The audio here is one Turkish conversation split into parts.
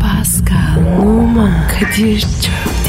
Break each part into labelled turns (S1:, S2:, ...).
S1: Pascal, Oman, Kadir çok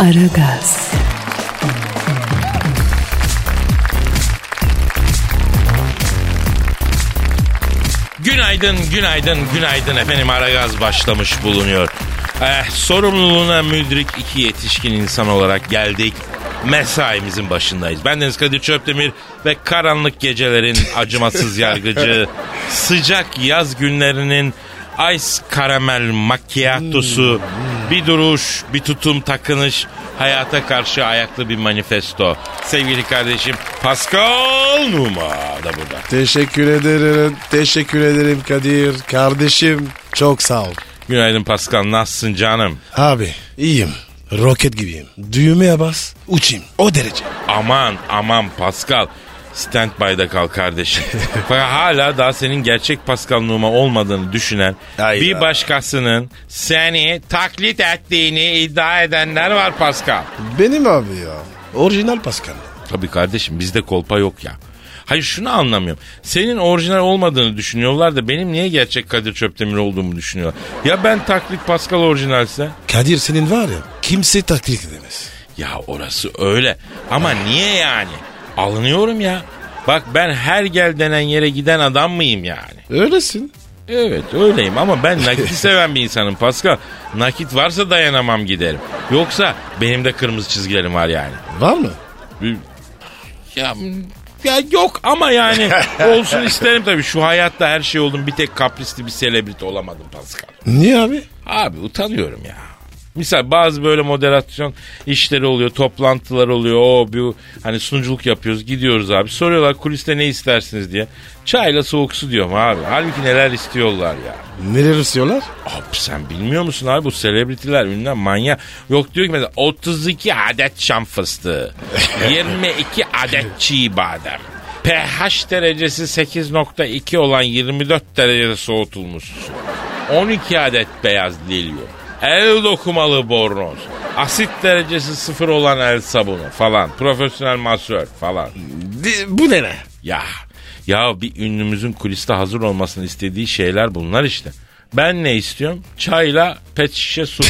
S1: Aragaz,
S2: Günaydın, günaydın, günaydın efendim. Aragaz başlamış bulunuyor. Eh, sorumluluğuna müdrik iki yetişkin insan olarak geldik. Mesaimizin başındayız. Ben Deniz Kadir Çöptemir ve karanlık gecelerin acımasız yargıcı, sıcak yaz günlerinin ice karamel macchiato'su, bir duruş, bir tutum takınış, hayata karşı ayaklı bir manifesto. Sevgili kardeşim Pascal Numa da burada.
S3: Teşekkür ederim. Teşekkür ederim Kadir. Kardeşim çok sağ ol.
S2: Günaydın Pascal, nasılsın canım?
S3: Abi iyiyim. Roket gibiyim. Düğmeye bas uçayım. O derece.
S2: Aman aman Pascal. Standby'da kal kardeşim. Fakat hala daha senin gerçek Pascal Numa olmadığını düşünen
S3: Hayda.
S2: bir başkasının seni taklit ettiğini iddia edenler var Pascal.
S3: Benim abi ya. Orijinal Pascal.
S2: Tabii kardeşim bizde kolpa yok ya. Hayır şunu anlamıyorum. Senin orijinal olmadığını düşünüyorlar da benim niye gerçek Kadir Çöptemir olduğumu düşünüyorlar. Ya ben taklit Pascal orijinalse?
S3: Kadir senin var ya kimse taklit edemez.
S2: Ya orası öyle. Ama niye yani? Alınıyorum ya. Bak ben her gel denen yere giden adam mıyım yani?
S3: Öylesin.
S2: Evet öyleyim ama ben nakiti seven bir insanım Pascal. Nakit varsa dayanamam giderim. Yoksa benim de kırmızı çizgilerim var yani.
S3: Var mı?
S2: Ya, ya yok ama yani olsun isterim tabii. Şu hayatta her şey oldum bir tek kaprisli bir selebriti olamadım Pascal.
S3: Niye abi?
S2: Abi utanıyorum ya. Misal bazı böyle moderasyon işleri oluyor, toplantılar oluyor. O bir hani sunuculuk yapıyoruz, gidiyoruz abi. Soruyorlar kuliste ne istersiniz diye. Çayla soğuk su diyorum abi. Halbuki neler istiyorlar ya.
S3: Neler istiyorlar?
S2: Abi sen bilmiyor musun abi bu selebritiler ünlü manyak. Yok diyor ki mesela 32 adet şam fıstığı, 22 adet çiğ badem. pH derecesi 8.2 olan 24 derecede soğutulmuş su. 12 adet beyaz lilyo. El dokumalı bornoz. Asit derecesi sıfır olan el sabunu falan. Profesyonel masör falan.
S3: bu ne ne?
S2: Ya ya bir ünlümüzün kuliste hazır olmasını istediği şeyler bunlar işte. Ben ne istiyorum? Çayla pet şişe su.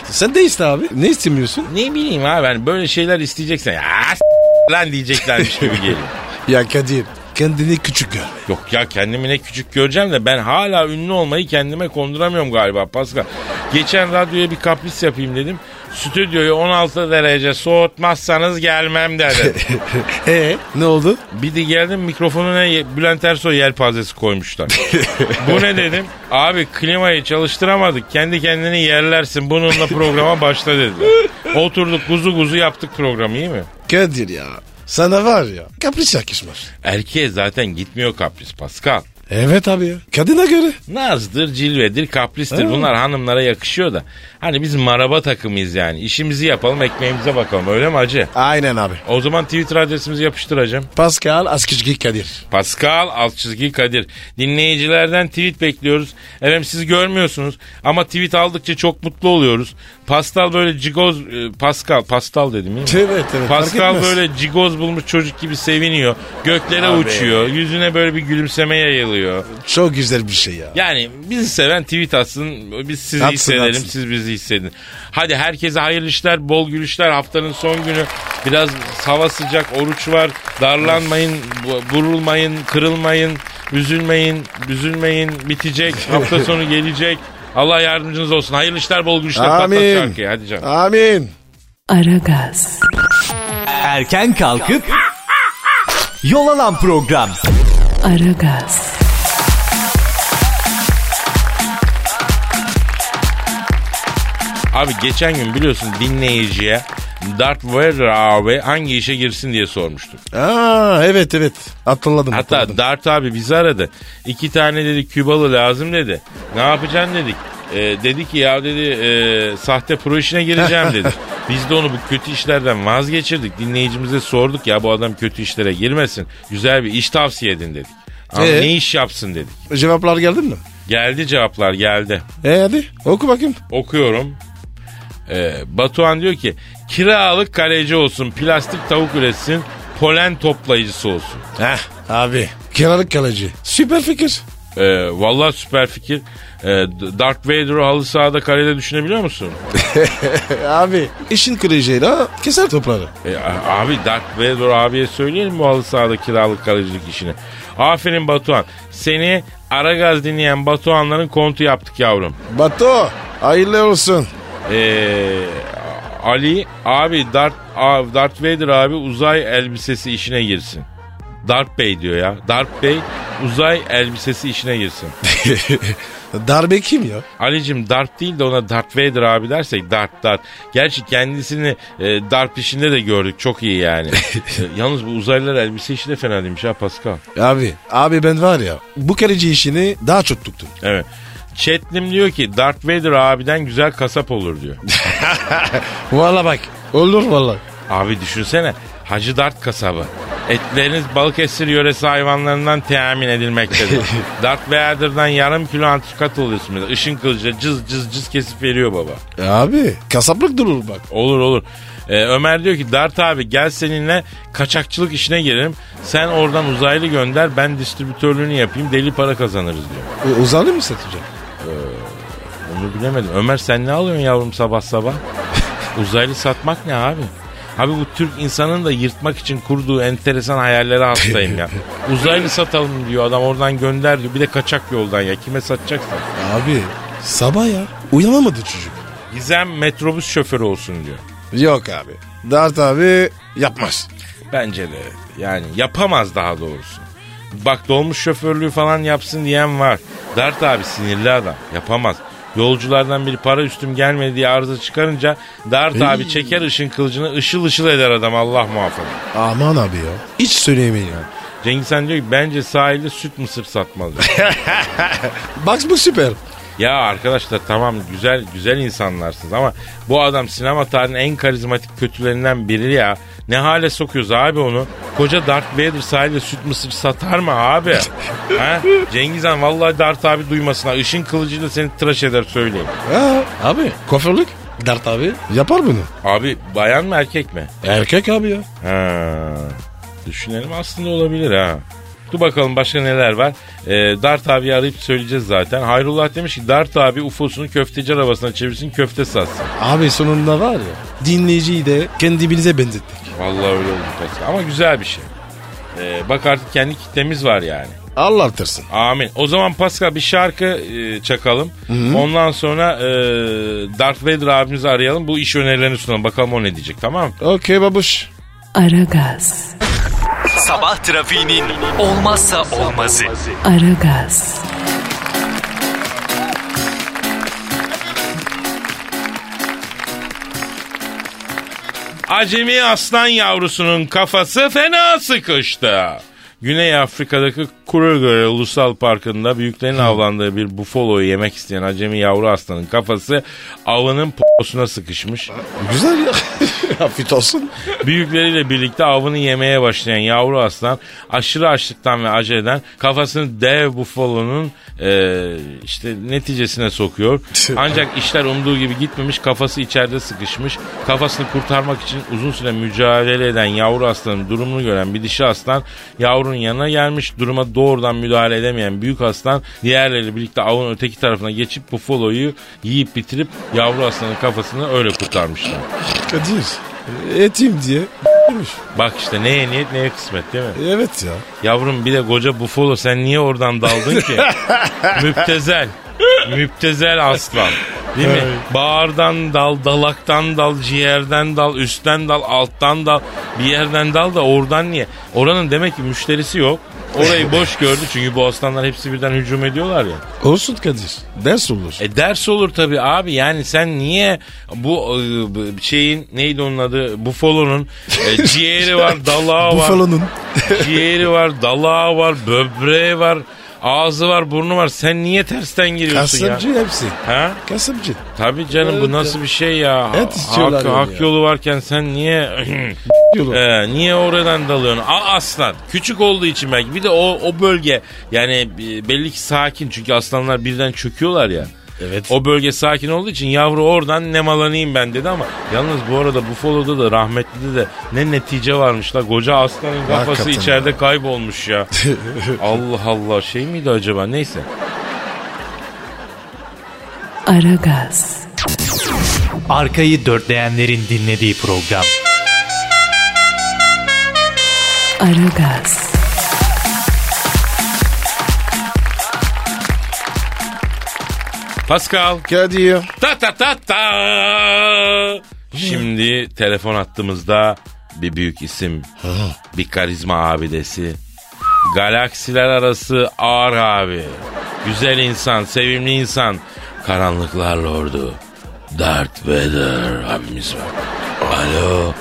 S3: Sen de iste abi. Ne istemiyorsun?
S2: ne bileyim abi ben böyle şeyler isteyeceksen ya s- lan diyeceklermiş gibi geliyor.
S3: Ya Kadir kendini küçük görme.
S2: Yok ya kendimi ne küçük göreceğim de ben hala ünlü olmayı kendime konduramıyorum galiba Pascal. Geçen radyoya bir kapris yapayım dedim. Stüdyoyu 16 derece soğutmazsanız gelmem dedi.
S3: Ee ne oldu?
S2: Bir de geldim mikrofonuna ye- Bülent Ersoy yelpazesi koymuşlar. Bu ne dedim? Abi klimayı çalıştıramadık. Kendi kendini yerlersin. Bununla programa başla dediler. Oturduk kuzu kuzu yaptık programı iyi mi?
S3: Kadir ya sana var ya kapris yakışmış.
S2: Erkeğe zaten gitmiyor kapris Pascal.
S3: Evet abi ya. Kadına göre.
S2: Nazdır, cilvedir, kapristir.
S3: Ha.
S2: Bunlar hanımlara yakışıyor da. Hani biz maraba takımıyız yani. İşimizi yapalım, ekmeğimize bakalım. Öyle mi hacı?
S3: Aynen abi.
S2: O zaman Twitter adresimizi yapıştıracağım.
S3: Pascal Askizgi Kadir.
S2: Pascal alt çizgi Kadir. Dinleyicilerden tweet bekliyoruz. Efendim siz görmüyorsunuz ama tweet aldıkça çok mutlu oluyoruz. Pastal böyle cigoz e, Pascal Pastal dedim değil mi?
S3: Şey, Evet, evet, fark
S2: Pascal
S3: etmez.
S2: böyle cigoz bulmuş çocuk gibi seviniyor. Göklere uçuyor. Yüzüne böyle bir gülümseme yayılıyor.
S3: Çok güzel bir şey ya.
S2: Yani bizi seven tweet atsın. Biz sizi
S3: Atsın,
S2: hissedelim.
S3: atsın.
S2: Siz bizi hissedin. Hadi herkese hayırlı işler, bol gülüşler. Haftanın son günü. Biraz hava sıcak, oruç var. Darlanmayın, bu- burulmayın, kırılmayın, üzülmeyin, üzülmeyin. Bitecek. Hafta sonu gelecek. Allah yardımcınız olsun. Hayırlı işler, bol gülüşler. Patlat
S3: Amin.
S2: şarkıyı. Hadi canım.
S3: Amin.
S1: Aragaz,
S4: Erken kalkıp yol alan program.
S1: Aragaz,
S2: Abi geçen gün biliyorsun dinleyiciye Darth Vader abi hangi işe girsin diye sormuştum.
S3: Aa evet evet. Hatırladım.
S2: Hatta
S3: hatırladım.
S2: Dart abi bizi aradı. İki tane dedi Kübalı lazım dedi. Ne yapacaksın dedik. Ee, dedi ki ya dedi e, sahte pro işine gireceğim dedi. Biz de onu bu kötü işlerden vazgeçirdik. Dinleyicimize sorduk ya bu adam kötü işlere girmesin. Güzel bir iş tavsiye edin dedik. Ama
S3: Ee?
S2: ne iş yapsın dedik.
S3: Cevaplar geldi mi?
S2: Geldi cevaplar geldi.
S3: E hadi oku bakayım.
S2: Okuyorum. Ee, Batuhan diyor ki kiralık kaleci olsun, plastik tavuk üretsin, polen toplayıcısı olsun.
S3: Heh abi. Kiralık kaleci. Süper fikir.
S2: Ee, vallahi süper fikir. Ee, D- Darth Vader'ı halı sahada karede düşünebiliyor musun?
S3: E, abi işin kılıcıyla keser topları.
S2: Ee, a- abi Darth Vader abiye söyleyelim bu halı sahada kiralık kalecilik işini. Aferin Batuhan. Seni Aragaz dinleyen Batuhanların kontu yaptık yavrum.
S3: Batu hayırlı olsun.
S2: Ee, Ali abi Darth, a- Darth Vader abi uzay elbisesi işine girsin. Darth Bey diyor ya. Darth Bey uzay elbisesi işine girsin.
S3: Darbe kim ya?
S2: Ali'cim Darth değil de ona Darth Vader abi dersek Darth Darth. Gerçi kendisini e, Darth işinde de gördük çok iyi yani. E, yalnız bu uzaylılar elbise işi de fena değilmiş ha Pascal.
S3: Abi abi ben var ya bu kaleci işini daha çok tuttum.
S2: Evet. Chatlim diyor ki Darth Vader abiden güzel kasap olur diyor.
S3: Valla bak olur valla.
S2: Abi düşünsene Hacı Dart kasabı. Etleriniz Balıkesir yöresi hayvanlarından temin edilmektedir. Darth Vader'dan yarım kilo antrikat oluyorsun. Işın kılıcı cız cız cız kesip veriyor baba.
S3: E Abi kasaplık durur bak.
S2: Olur olur. Ee, Ömer diyor ki Dart abi gel seninle kaçakçılık işine girelim. Sen oradan uzaylı gönder ben distribütörlüğünü yapayım deli para kazanırız diyor.
S3: E, uzaylı mı satacak?
S2: Onu bilemedim. Ömer sen ne alıyorsun yavrum sabah sabah? uzaylı satmak ne abi? Abi bu Türk insanın da yırtmak için kurduğu enteresan hayallere hastayım ya. Uzaylı satalım diyor adam oradan gönder diyor. Bir de kaçak yoldan ya kime satacaksan.
S3: E Abi sabah ya uyanamadı çocuk.
S2: Gizem metrobüs şoförü olsun diyor.
S3: Yok abi. Dart abi yapmaz.
S2: Bence de evet. yani yapamaz daha doğrusu. Bak dolmuş şoförlüğü falan yapsın diyen var. Dert abi sinirli adam yapamaz. Yolculardan biri para üstüm gelmedi diye arıza çıkarınca Dart abi çeker ışın kılıcını ışıl ışıl eder adam Allah muhafaza.
S3: Aman abi ya. Hiç söyleyemeyin ya.
S2: Cengiz Han diyor ki bence sahilde süt mısır satmalı.
S3: Bak bu süper.
S2: ya arkadaşlar tamam güzel güzel insanlarsınız ama bu adam sinema tarihinin en karizmatik kötülerinden biri ya. Ne hale sokuyoruz abi onu? Koca Darth Vader sahilde süt mısır satar mı abi? ha? Cengiz Han vallahi Darth abi duymasın. ha. Işın kılıcıyla seni tıraş eder söyleyeyim.
S3: Ha, abi kuaförlük. Dart abi. Yapar bunu.
S2: Abi bayan mı erkek mi?
S3: Erkek abi ya.
S2: Ha. Düşünelim aslında olabilir ha. Dur bakalım başka neler var. Ee, Dart abi arayıp söyleyeceğiz zaten. Hayrullah demiş ki Dart abi UFO'sunu köfteci arabasına çevirsin köfte satsın.
S3: Abi sonunda var ya. Dinleyiciyi de kendimize benzettik.
S2: Vallahi öyle oldu Pascal. Ama güzel bir şey. Ee, bak artık kendi kitlemiz var yani.
S3: Allah artırsın.
S2: Amin. O zaman Pascal bir şarkı e, çakalım. Ondan sonra e, Darth Vader abimizi arayalım. Bu iş önerilerini sunalım. Bakalım o ne diyecek tamam mı?
S3: Okey babuş.
S1: Aragaz,
S4: Sabah trafiğinin olmazsa olmazı.
S1: Aragaz,
S2: Acemi aslan yavrusunun kafası fena sıkıştı. Güney Afrika'daki Kruger Ulusal Parkı'nda büyüklerin avlandığı bir bufaloyu yemek isteyen acemi yavru aslanın kafası avının posuna sıkışmış.
S3: Güzel ya. Afiyet olsun.
S2: Büyükleriyle birlikte avını yemeye başlayan yavru aslan aşırı açlıktan ve aceleden kafasını dev bufalonun e, işte neticesine sokuyor. Ancak işler umduğu gibi gitmemiş kafası içeride sıkışmış. Kafasını kurtarmak için uzun süre mücadele eden yavru aslanın durumunu gören bir dişi aslan yavrunun yanına gelmiş. Duruma doğrudan müdahale edemeyen büyük aslan diğerleriyle birlikte avın öteki tarafına geçip bufaloyu yiyip bitirip yavru aslanın kafasını öyle kurtarmışlar.
S3: Kadir. Etim diye. demiş.
S2: Bak işte neye niyet neye kısmet değil mi?
S3: Evet ya.
S2: Yavrum bir de koca bufalo sen niye oradan daldın ki? müptezel. Müptezel aslan. Değil mi? Bağırdan dal, dalaktan dal, ciğerden dal, üstten dal, alttan dal, bir yerden dal da oradan niye? Oranın demek ki müşterisi yok. Orayı boş gördü çünkü bu aslanlar hepsi birden hücum ediyorlar ya.
S3: Olsun Kadir. Ders olur.
S2: E ders olur tabii abi yani sen niye bu e, bu şeyin neydi onun adı bufalonun e, ciğeri var dalağı var.
S3: Buffalo'nun.
S2: Ciğeri var dalağı var böbreği var ağzı var burnu var sen niye tersten giriyorsun ya?
S3: Kasımcı hepsi.
S2: Ha?
S3: Kasımcı.
S2: Tabii canım bu nasıl bir şey ya?
S3: Et istiyorlar
S2: Hak,
S3: yani
S2: hak
S3: ya.
S2: yolu varken sen niye
S3: Yolu.
S2: Ee, niye oradan dalıyorsun? A aslan. Küçük olduğu için belki. Bir de o, o bölge yani e, belli ki sakin. Çünkü aslanlar birden çöküyorlar ya.
S3: Evet.
S2: O bölge sakin olduğu için yavru oradan nemalanayım ben dedi ama yalnız bu arada Buffalo'da da rahmetlide de ne netice varmış la koca aslanın kafası
S3: Hakikaten
S2: içeride kaybolmuş ya. Allah Allah şey miydi acaba neyse.
S1: Aragaz,
S4: Arkayı dörtleyenlerin dinlediği program.
S1: Aragaz,
S2: Pascal.
S3: Kadir.
S2: Ta ta ta ta. Şimdi telefon attığımızda bir büyük isim, bir karizma abidesi, galaksiler arası ağır abi, güzel insan, sevimli insan, karanlıklar lordu, Darth Vader abimiz var. Alo,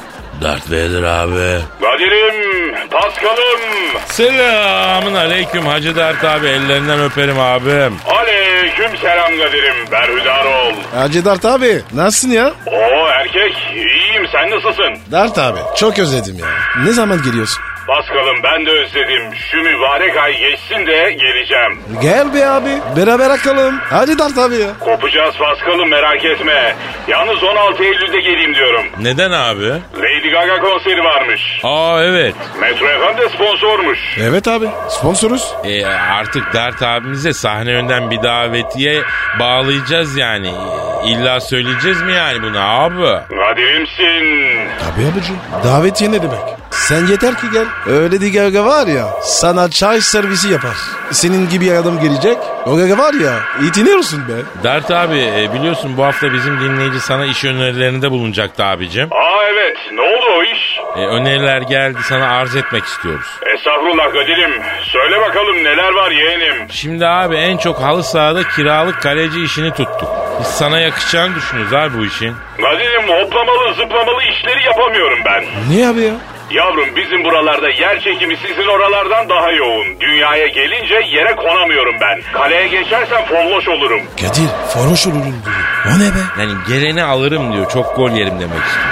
S2: Darth Vader abi.
S5: Kadir'im, Paskal'ım,
S2: Selamın aleyküm Hacı Dert abi, ellerinden öperim abim.
S5: aleyküm selam Kadir'im, berhudar ol.
S3: Hacı Dert abi. Nasılsın ya?
S5: Oo erkek, iyiyim sen nasılsın?
S3: Dert abi. Çok özledim ya. Ne zaman geliyorsun?
S5: Paskal'ım ben de özledim, şu mübarek ay geçsin de geleceğim.
S3: Gel be abi. Beraber akalım. Hacı Dert abi ya.
S5: Kopacağız Paskal'ım merak etme. Yalnız 16 Eylül'de geleyim diyorum.
S2: Neden abi?
S5: Lady Gaga konseri varmış.
S2: Aa evet.
S5: Metro FM de sponsormuş.
S3: Evet abi. Sponsoruz.
S2: E, artık Dert abimize sahne önden bir davetiye bağlayacağız yani. İlla söyleyeceğiz mi yani bunu abi?
S5: Kadir'imsin.
S3: Tabii abicim. Davetiye ne demek? Sen yeter ki gel. Öyle bir gaga var ya. Sana çay servisi yapar. Senin gibi adam gelecek. O gaga var ya. itiniyorsun be.
S2: Dert abi e, biliyorsun bu hafta bizim dinleyici sana iş önerilerinde bulunacaktı abicim.
S5: Aa evet, ne oldu o iş?
S2: E, öneriler geldi sana arz etmek istiyoruz.
S5: Estağfurullah Kadir'im, söyle bakalım neler var yeğenim.
S2: Şimdi abi en çok halı sahada kiralık kaleci işini tuttuk. Biz sana yakışacağını düşünüyoruz abi bu işin.
S5: Kadir'im hoplamalı zıplamalı işleri yapamıyorum ben.
S3: Niye abi ya?
S5: Yavrum bizim buralarda yer çekimi sizin oralardan daha yoğun. Dünyaya gelince yere konamıyorum ben. Kaleye geçersem folloş olurum.
S3: Kadir. Foroş olurum diyor. O ne be?
S2: Yani geleni alırım diyor çok gol yerim demek istiyor.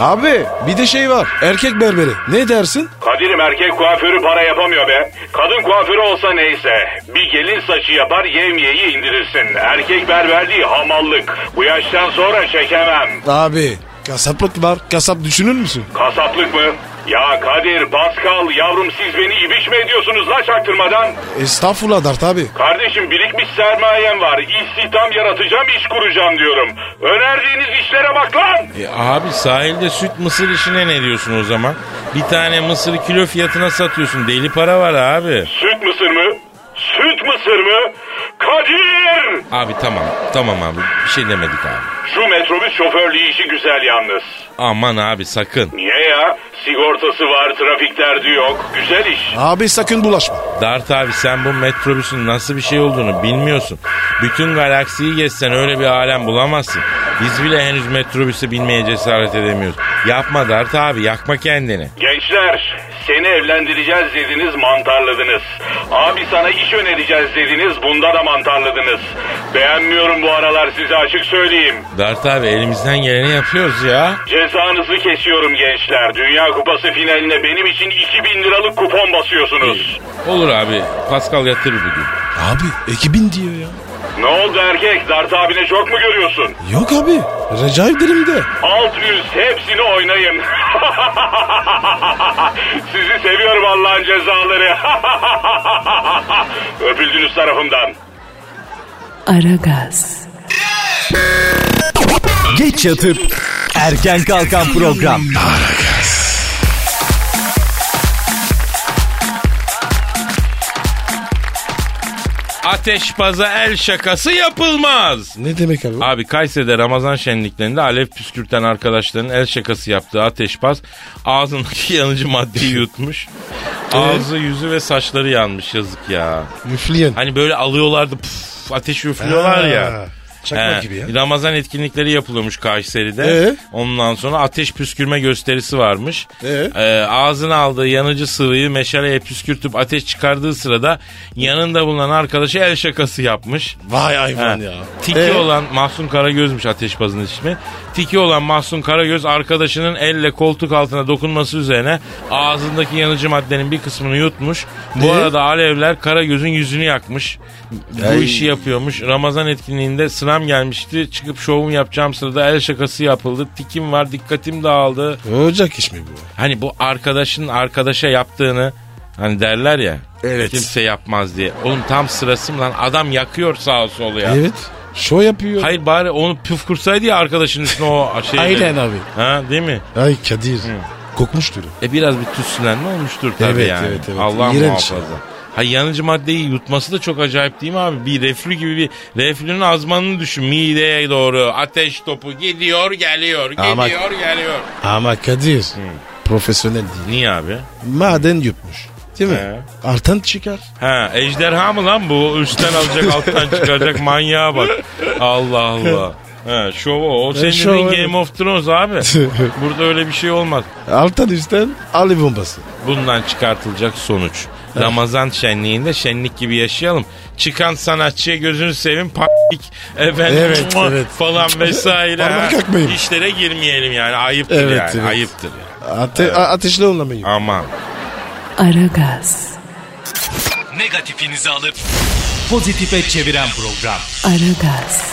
S3: Abi bir de şey var. Erkek berberi. Ne dersin?
S5: Kadir'im erkek kuaförü para yapamıyor be. Kadın kuaförü olsa neyse. Bir gelin saçı yapar yevmiyeyi indirirsin. Erkek berberliği hamallık. Bu yaştan sonra çekemem.
S3: Abi kasaplık var. Kasap düşünür müsün?
S5: Kasaplık mı? Ya Kadir, Pascal, yavrum siz beni ibiş mi ediyorsunuz la çaktırmadan?
S3: Estağfurullah Dert abi.
S5: Kardeşim birikmiş sermayem var. İstihdam yaratacağım, iş kuracağım diyorum. Önerdiğiniz işlere bak lan.
S2: E, abi sahilde süt mısır işine ne diyorsun o zaman? Bir tane mısırı kilo fiyatına satıyorsun deli para var abi.
S5: Süt mısır mı? Süt mısır mı? Kadir!
S2: Abi tamam. Tamam abi. Bir şey demedik abi.
S5: Şu metrobüs şoförlüğü işi güzel yalnız.
S2: Aman abi sakın.
S5: Niye ya? Sigortası var, trafik derdi yok. Güzel iş.
S3: Abi sakın bulaşma.
S2: Dart abi sen bu metrobüsün nasıl bir şey olduğunu bilmiyorsun. Bütün galaksiyi gezsen öyle bir alem bulamazsın. Biz bile henüz metrobüse binmeye cesaret edemiyoruz. Yapma Dart abi yakma kendini.
S5: Gençler, seni evlendireceğiz dediniz, mantarladınız. Abi sana iş önereceğiz dediniz, bunda da mantarladınız. Beğenmiyorum bu aralar size açık söyleyeyim.
S2: Dart abi elimizden geleni yapıyoruz ya.
S5: Cezanızı kesiyorum gençler. Dünya Kupası finaline benim için 2000 liralık kupon basıyorsunuz.
S2: Olur abi Pascal yatır bugün.
S3: Abi 2000 diyor ya.
S5: Ne oldu erkek? Dart abine çok mu görüyorsun?
S3: Yok abi. Recai dilimde.
S5: Alt üst hepsini oynayın. Sizi seviyorum Allah'ın cezaları. Öpüldünüz tarafımdan.
S1: Aragaz,
S4: Geç yatıp erken kalkan program.
S2: Ateşbaza el şakası yapılmaz.
S3: Ne demek abi?
S2: Abi Kayseri'de Ramazan şenliklerinde alev püskürten arkadaşların el şakası yaptığı ateşbaz ağzındaki yanıcı maddeyi yutmuş. Ağzı, yüzü ve saçları yanmış yazık ya.
S3: Müfleyen.
S2: Hani böyle alıyorlardı puf, ateş üflüyorlar ya.
S3: Ha, Çakmak
S2: He,
S3: gibi ya.
S2: Ramazan etkinlikleri yapılıyormuş Kayseri'de.
S3: Ee?
S2: Ondan sonra ateş püskürme gösterisi varmış.
S3: Ee?
S2: Ee, ağzına aldığı yanıcı sıvıyı meşaleye püskürtüp ateş çıkardığı sırada yanında bulunan arkadaşı el şakası yapmış.
S3: Vay hayvan
S2: Ha.
S3: ya.
S2: Tiki
S3: Ee?
S2: olan Mahsun Karagöz'müş ateşbazın ismi. Tiki olan Mahsun Karagöz arkadaşının elle koltuk altına dokunması üzerine ağzındaki yanıcı maddenin bir kısmını yutmuş. Bu
S3: Ee?
S2: arada alevler Karagöz'ün yüzünü yakmış. Bu
S3: Ay.
S2: işi yapıyormuş. Ramazan etkinliğinde sıram gelmişti. Çıkıp şovumu yapacağım sırada el şakası yapıldı. Tikim var dikkatim dağıldı.
S3: Ee, Olacak iş mi bu?
S2: Hani bu arkadaşın arkadaşa yaptığını hani derler ya.
S3: Evet.
S2: Kimse yapmaz diye. Oğlum tam sırası mı lan? Adam yakıyor sağa solu ya.
S3: Evet. Şov yapıyor.
S2: Hayır bari onu püf kursaydı ya arkadaşın üstüne o şey.
S3: Aynen abi.
S2: Ha değil mi?
S3: Ay Kadir. Kokmuş dürüm.
S2: E biraz bir tütsülenme olmuştur tabii
S3: Evet,
S2: yani.
S3: evet, evet.
S2: Allah
S3: İğrenç
S2: muhafaza.
S3: ya.
S2: Ha yanıcı maddeyi yutması da çok acayip değil mi abi? Bir reflü gibi bir reflünün azmanını düşün mideye doğru. Ateş topu gidiyor geliyor gidiyor
S3: Ama-
S2: geliyor.
S3: Ama Kadir. Profesyonel değil.
S2: Niye abi?
S3: Maden yutmuş. Değil mi?
S2: He.
S3: Artan çıkar.
S2: Ha ejderha mı lan bu? Üstten alacak alttan çıkaracak manyağa bak. Allah Allah. Ha şov o. O senin
S3: şov,
S2: dediğin
S3: evet.
S2: Game of Thrones abi. Burada öyle bir şey olmaz.
S3: Alttan üstten Ali bombası.
S2: Bundan çıkartılacak sonuç. Ramazan şenliğinde şenlik gibi yaşayalım. Çıkan sanatçıya gözünü sevin p***lik efendim
S3: Evet,
S2: mua
S3: evet.
S2: falan vesaire.
S3: Parmak
S2: ha.
S3: yakmayın.
S2: İşlere girmeyelim yani ayıptır
S3: Evet,
S2: yani
S3: evet.
S2: ayıptır. Yani.
S3: Ate a- ateşli onlamayı.
S2: Aman.
S1: Aragaz,
S4: Negatifinizi alıp pozitife çeviren program.
S1: Aragaz,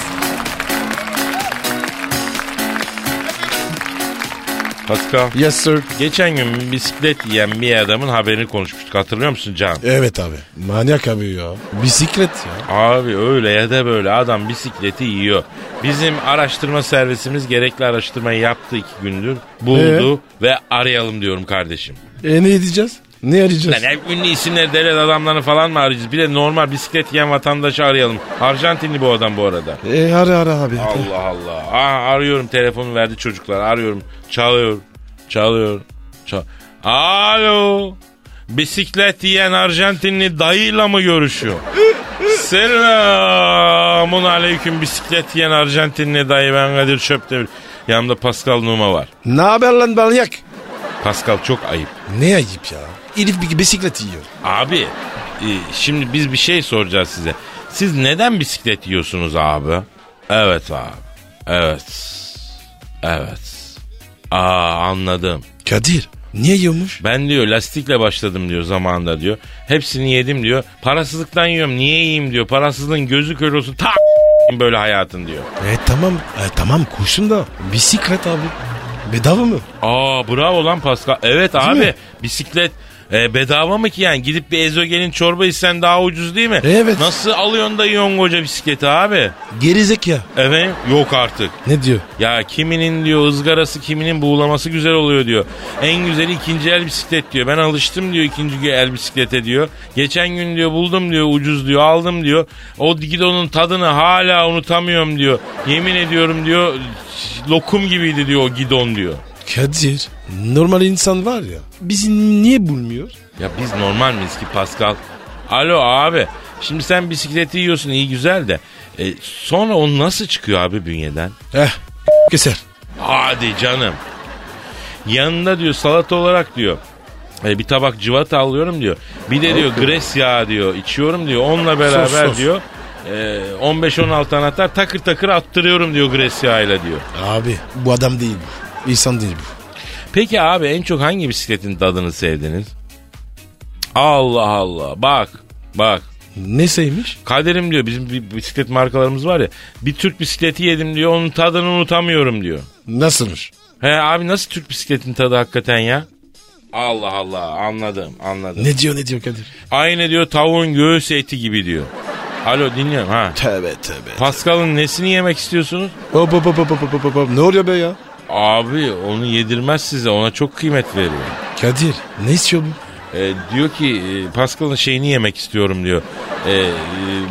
S2: Pascal.
S3: Yes sir.
S2: Geçen gün bisiklet yiyen bir adamın haberini konuşmuştuk hatırlıyor musun Can?
S3: Evet abi. Manyak abi ya. Bisiklet ya.
S2: Abi öyle ya da böyle adam bisikleti yiyor. Bizim araştırma servisimiz gerekli araştırmayı yaptı iki gündür.
S3: Ee?
S2: Buldu ve arayalım diyorum kardeşim.
S3: E ne edeceğiz? Ne arayacağız?
S2: Lan hep ünlü isimleri devlet adamlarını falan mı arayacağız? Bir de normal bisiklet yiyen vatandaşı arayalım. Arjantinli bu adam bu arada.
S3: E ara ara abi.
S2: Allah Allah. Aa, arıyorum telefonu verdi çocuklar. Arıyorum. Çalıyor. Çalıyor. Çal Alo. Bisiklet yiyen Arjantinli dayıyla mı görüşüyor? Selamun aleyküm bisiklet yiyen Arjantinli dayı ben Kadir Çöptemir. Yanımda Pascal Numa var.
S3: Ne haber lan manyak?
S2: Pascal çok ayıp.
S3: Ne ayıp ya. Elif bir bisiklet yiyor.
S2: Abi e, şimdi biz bir şey soracağız size. Siz neden bisiklet yiyorsunuz abi? Evet abi. Evet. Evet. Aa anladım.
S3: Kadir niye yiyormuş?
S2: Ben diyor lastikle başladım diyor zamanında diyor. Hepsini yedim diyor. Parasızlıktan yiyorum. Niye yiyeyim diyor. Parasızlığın gözü kör olsun. Ta böyle hayatın diyor.
S3: E tamam e, tamam koşun da bisiklet abi. Bedava mı?
S2: Aa bravo lan Pascal. Evet abi
S3: mi?
S2: bisiklet e, bedava mı ki yani? Gidip bir ezogelin çorba içsen daha ucuz değil mi?
S3: Evet.
S2: Nasıl alıyorsun da yiyorsun koca bisikleti abi?
S3: Gerizek ya.
S2: Evet yok artık.
S3: Ne diyor?
S2: Ya kiminin diyor ızgarası kiminin buğulaması güzel oluyor diyor. En güzeli ikinci el bisiklet diyor. Ben alıştım diyor ikinci el bisiklete diyor. Geçen gün diyor buldum diyor ucuz diyor aldım diyor. O gidonun tadını hala unutamıyorum diyor. Yemin ediyorum diyor lokum gibiydi diyor o gidon diyor.
S3: Kadir normal insan var ya bizi niye bulmuyor?
S2: Ya biz normal miyiz ki Pascal? Alo abi. Şimdi sen bisikleti yiyorsun iyi güzel de. e, sonra o nasıl çıkıyor abi bünyeden?
S3: Eh keser.
S2: Hadi canım. Yanında diyor salata olarak diyor. e, bir tabak cıvata alıyorum diyor. Bir de diyor gres yağı diyor. içiyorum diyor. Onunla beraber
S3: sos.
S2: diyor. e, 15-16 anahtar takır takır attırıyorum diyor gres yağıyla diyor.
S3: Abi bu adam değil bu. İnsan değil bu.
S2: Peki abi en çok hangi bisikletin tadını sevdiniz? Allah Allah. Bak. Bak.
S3: Neseymiş?
S2: Kaderim diyor bizim bir bisiklet markalarımız var ya. Bir Türk bisikleti yedim diyor. Onun tadını unutamıyorum diyor.
S3: Nasılmış?
S2: He abi nasıl Türk bisikletin tadı hakikaten ya? Allah Allah anladım anladım.
S3: Ne diyor ne diyor Kadir?
S2: Aynı diyor tavuğun göğüs eti gibi diyor. Alo dinliyorum ha.
S3: Tövbe tövbe.
S2: Pascal'ın nesini yemek istiyorsunuz?
S3: Hop hop hop hop hop hop hop hop. Ne oluyor be ya?
S2: Abi onu yedirmez size ona çok kıymet veriyor.
S3: Kadir ne istiyor bu?
S2: E, diyor ki e, Pascal'ın şeyini yemek istiyorum diyor. E, e,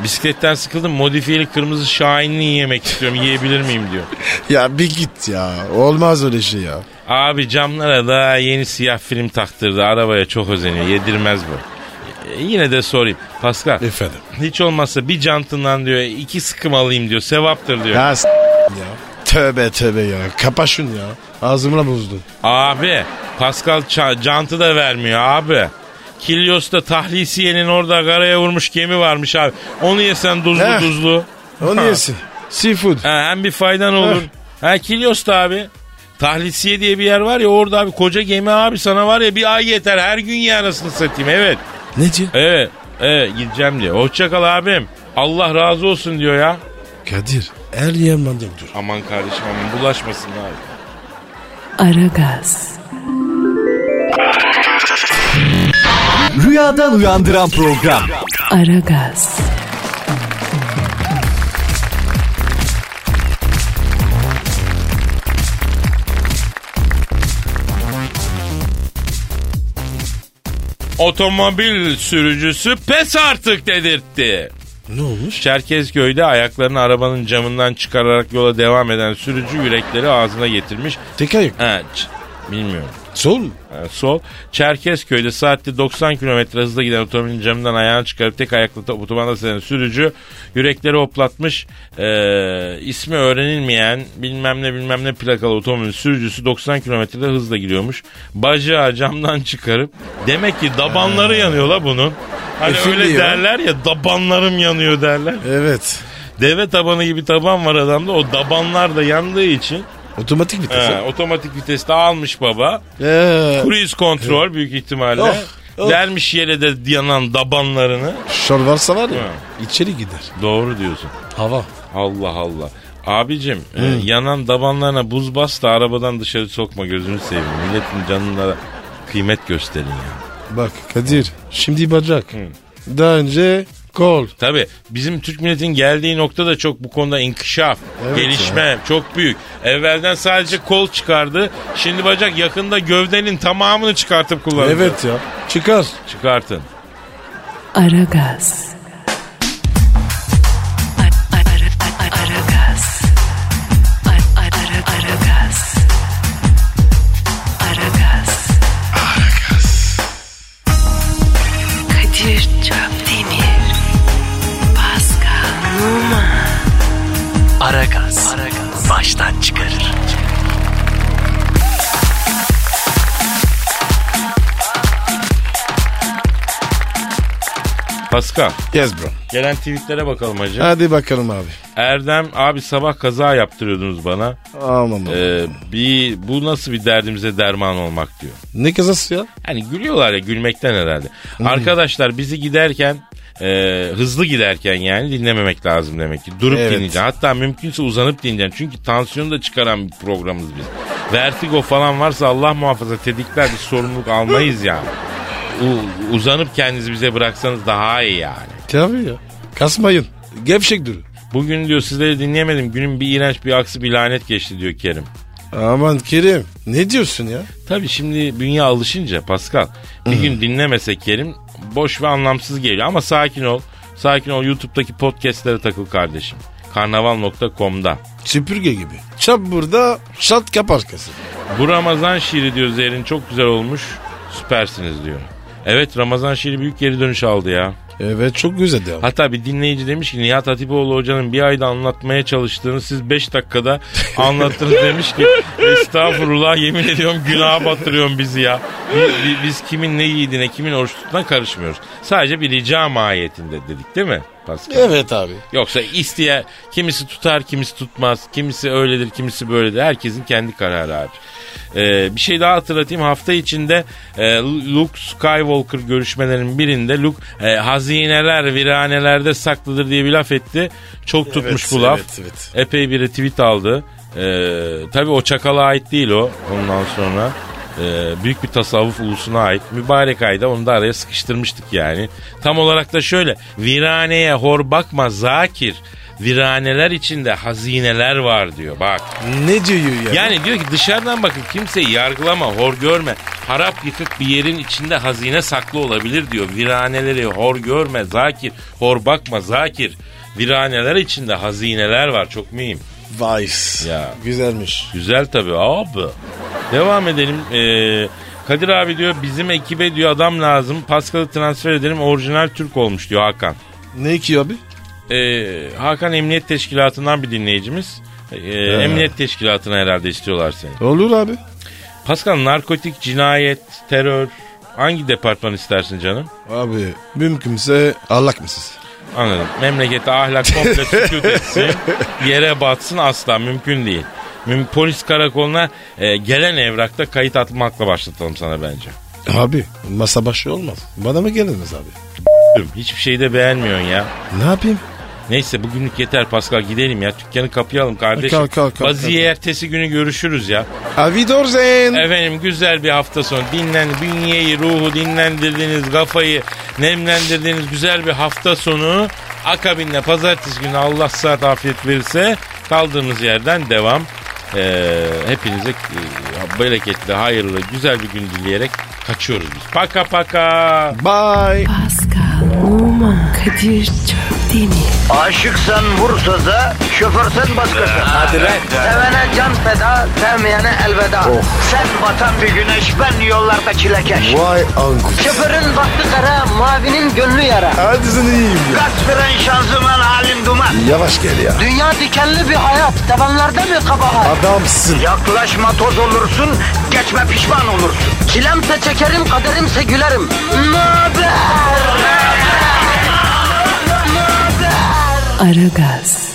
S2: bisikletten sıkıldım modifiyeli kırmızı şahinini yemek istiyorum yiyebilir miyim diyor.
S3: Ya bir git ya. Olmaz öyle şey ya.
S2: Abi camlara da yeni siyah film taktırdı arabaya çok özeniyor yedirmez bu. E, yine de sorayım Pascal.
S3: Efendim?
S2: Hiç olmazsa bir cantından diyor iki sıkım alayım diyor sevaptır diyor.
S3: Ya s- ya. Tövbe tövbe ya. Kapa şunu ya. Ağzımla bozdun.
S2: Abi Pascal ça- cantı da vermiyor abi. Kilyos'ta tahlisiyenin orada karaya vurmuş gemi varmış abi. Onu yesen duzlu
S3: Heh.
S2: duzlu.
S3: Onu
S2: Ha.
S3: yesin. Seafood.
S2: Ha, hem bir faydan olur. ha Kilyos'ta abi. Tahlisiye diye bir yer var ya orada abi koca gemi abi sana var ya bir ay yeter her gün ye anasını satayım evet.
S3: Ne diyor?
S2: Evet evet gideceğim diyor. Hoşçakal abim. Allah razı olsun diyor ya.
S3: Kadir. Her yer manyak dur.
S2: Aman kardeşim aman bulaşmasın abi.
S1: Aragaz,
S4: Rüyadan uyandıran program.
S1: Aragaz,
S2: Otomobil sürücüsü pes artık dedirtti.
S3: Ne olmuş?
S2: Çerkezköy'de ayaklarını arabanın camından çıkararak yola devam eden sürücü yürekleri ağzına getirmiş.
S3: Tek ayak.
S2: Ha, ç- bilmiyorum.
S3: Sol mu?
S2: Ha, sol. Çerkezköy'de saatte 90 km hızla giden otomobilin camından ayağını çıkarıp tek ayakla to- otobanda seyreden sürücü yürekleri hoplatmış. Ee, ismi öğrenilmeyen bilmem ne bilmem ne plakalı otomobil sürücüsü 90 km'de hızla gidiyormuş. Bacağı camdan çıkarıp demek ki dabanları yanıyor la bunun. Hani
S3: Efil
S2: öyle
S3: diyor.
S2: derler ya dabanlarım yanıyor derler.
S3: Evet.
S2: Deve tabanı gibi taban var adamda. O dabanlar da yandığı için
S3: Otomatik vites.
S2: he,
S3: ha?
S2: otomatik viteste almış baba.
S3: Ee,
S2: Cruise kontrol büyük ihtimalle.
S3: Oh, oh.
S2: Dermiş yere de yanan dabanlarını.
S3: şor varsa var ya.
S2: Ha.
S3: içeri gider.
S2: Doğru diyorsun.
S3: Hava.
S2: Allah Allah. Abicim e, yanan dabanlarına buz bas da arabadan dışarı sokma gözünü seveyim. Milletin canına kıymet gösterin ya.
S3: Bak Kadir. Şimdi bacak. Daha önce kol.
S2: Tabi bizim Türk milletin geldiği nokta da çok bu konuda inkişaf,
S3: Evet
S2: gelişme çok büyük. Evvelden sadece kol çıkardı. Şimdi bacak yakında gövdenin tamamını çıkartıp kullanacak.
S3: Evet ya. Çıkar.
S2: Çıkartın.
S1: Aragaz. Ar- ar- ar- ar- Aragaz. Ar- ar- ar- Aragaz. Aragaz. Kadir Çöptemir. Pascal Numa.
S4: Aragaz. Baştan çıkarır.
S2: Pascal
S3: Yes bro.
S2: gelen tweetlere bakalım hacı.
S3: Hadi bakalım abi.
S2: Erdem abi sabah kaza yaptırıyordunuz bana.
S3: Aman Allah'ım.
S2: Ee, bir bu nasıl bir derdimize derman olmak diyor.
S3: Ne kazası ya?
S2: Hani gülüyorlar ya gülmekten herhalde. Arkadaşlar bizi giderken e, hızlı giderken yani dinlememek lazım demek ki. Durup
S3: Evet.
S2: dinleyeceksin. Hatta mümkünse uzanıp dinleyeceksin. Çünkü tansiyonu da çıkaran bir programız biz. Vertigo falan varsa Allah muhafaza tetikler bir sorumluluk almayız yani. U- uzanıp kendinizi bize bıraksanız daha iyi yani.
S3: Tabii ya. Kasmayın. Gevşek durun.
S2: Bugün diyor sizleri dinleyemedim. Günün bir iğrenç bir aksi bir lanet geçti diyor Kerim.
S3: Aman Kerim. Ne diyorsun ya?
S2: Tabii şimdi dünya alışınca Pascal bir gün dinlemesek Kerim boş ve anlamsız geliyor ama sakin ol. Sakin ol YouTube'daki podcastlere takıl kardeşim. Karnaval.com'da.
S3: Süpürge gibi. Çap burada, şat kap arkası.
S2: Bu Ramazan şiiri diyor Zerrin çok güzel olmuş. Süpersiniz diyor. Evet Ramazan şiiri büyük geri dönüş aldı ya.
S3: Evet çok güzel devam.
S2: Hatta bir dinleyici demiş ki Nihat Hatipoğlu hocanın bir ayda anlatmaya çalıştığını siz 5 dakikada anlattınız demiş ki estağfurullah yemin ediyorum günaha batırıyorsun bizi ya. Bi- bi- Biz, kimin ne yiğidine kimin oruç tuttuğuna karışmıyoruz. Sadece bir rica mahiyetinde dedik değil mi Pascal?
S3: Evet abi.
S2: Yoksa isteye kimisi tutar kimisi tutmaz. Kimisi öyledir kimisi böyledir. Herkesin kendi kararı abi. Ee, bir şey daha hatırlatayım. Hafta içinde e, Luke Skywalker görüşmelerinin birinde Luke e, hazineler viranelerde saklıdır diye bir laf etti. Çok tutmuş bu laf.
S3: evet, evet.
S2: Epey bir tweet aldı. Ee, tabii o çakala ait değil o ondan sonra. Ee, büyük bir tasavvuf ulusuna ait. Mübarek ayda onu da araya sıkıştırmıştık yani. Tam olarak da şöyle. Viraneye hor bakma zakir. Viraneler içinde hazineler var diyor bak.
S3: Ne diyor ya?
S2: Yani diyor ki dışarıdan bakıp kimseyi yargılama, hor görme. Harap yıkık bir yerin içinde hazine saklı olabilir diyor. Viraneleri hor görme Zakir, hor bakma Zakir. Viraneler içinde hazineler var çok mühim.
S3: Vice.
S2: Ya.
S3: Güzelmiş.
S2: Güzel tabii abi. Devam edelim. Ee, Kadir abi diyor bizim ekibe diyor adam lazım. Paskal'ı transfer edelim orijinal Türk olmuş diyor Hakan.
S3: Ne ki abi?
S2: Ee, Hakan Emniyet Teşkilatı'ndan bir dinleyicimiz. Ee, Emniyet Teşkilatı'na herhalde istiyorlar seni.
S3: Olur abi.
S2: Pascal narkotik, cinayet, terör hangi departman istersin canım?
S3: Abi mümkünse allak mısınız?
S2: Anladım. Memlekete ahlak komple sükut etsin. Yere batsın asla mümkün değil. Müm- Polis karakoluna e, gelen evrakta kayıt atmakla başlatalım sana bence.
S3: Abi masa başı olmaz. Bana mı geliniz abi?
S2: Hiçbir şeyi de beğenmiyorsun ya.
S3: Ne yapayım?
S2: Neyse bugünlük yeter Pascal gidelim ya. Dükkanı kapayalım kardeşim.
S3: Kalk, kalk, kalk,
S2: Baziye ertesi günü görüşürüz ya.
S3: Avidorzen.
S2: Efendim güzel bir hafta sonu. Dinlen, bünyeyi, ruhu dinlendirdiğiniz, kafayı nemlendirdiğiniz güzel bir hafta sonu. Akabinde pazartesi günü Allah saat afiyet verirse kaldığımız yerden devam. Ee, hepinize e, bereketli, hayırlı, güzel bir gün dileyerek kaçıyoruz biz. Paka paka.
S3: Bye.
S1: Pascal, Oman, Kadir çok değil mi?
S6: Aşıksan vursa da, şoförsen başkasın. Hadi lan. Sevene can feda, sevmeyene elveda. Sen batan bir güneş, ben yollarda çilekeş.
S3: Vay anku.
S6: Şoförün baktı kara, mavinin gönlü yara.
S3: Hadi sen iyiyim ya.
S6: Kasperen şanzıman halin duman.
S3: Yavaş gel ya.
S6: Dünya dikenli bir hayat, sevenlerde mi kabahar?
S3: Adamsın.
S6: Yaklaşma toz olursun, geçme pişman olursun. Çilemse çekerim, kaderimse gülerim. Möber!
S1: Aragaz.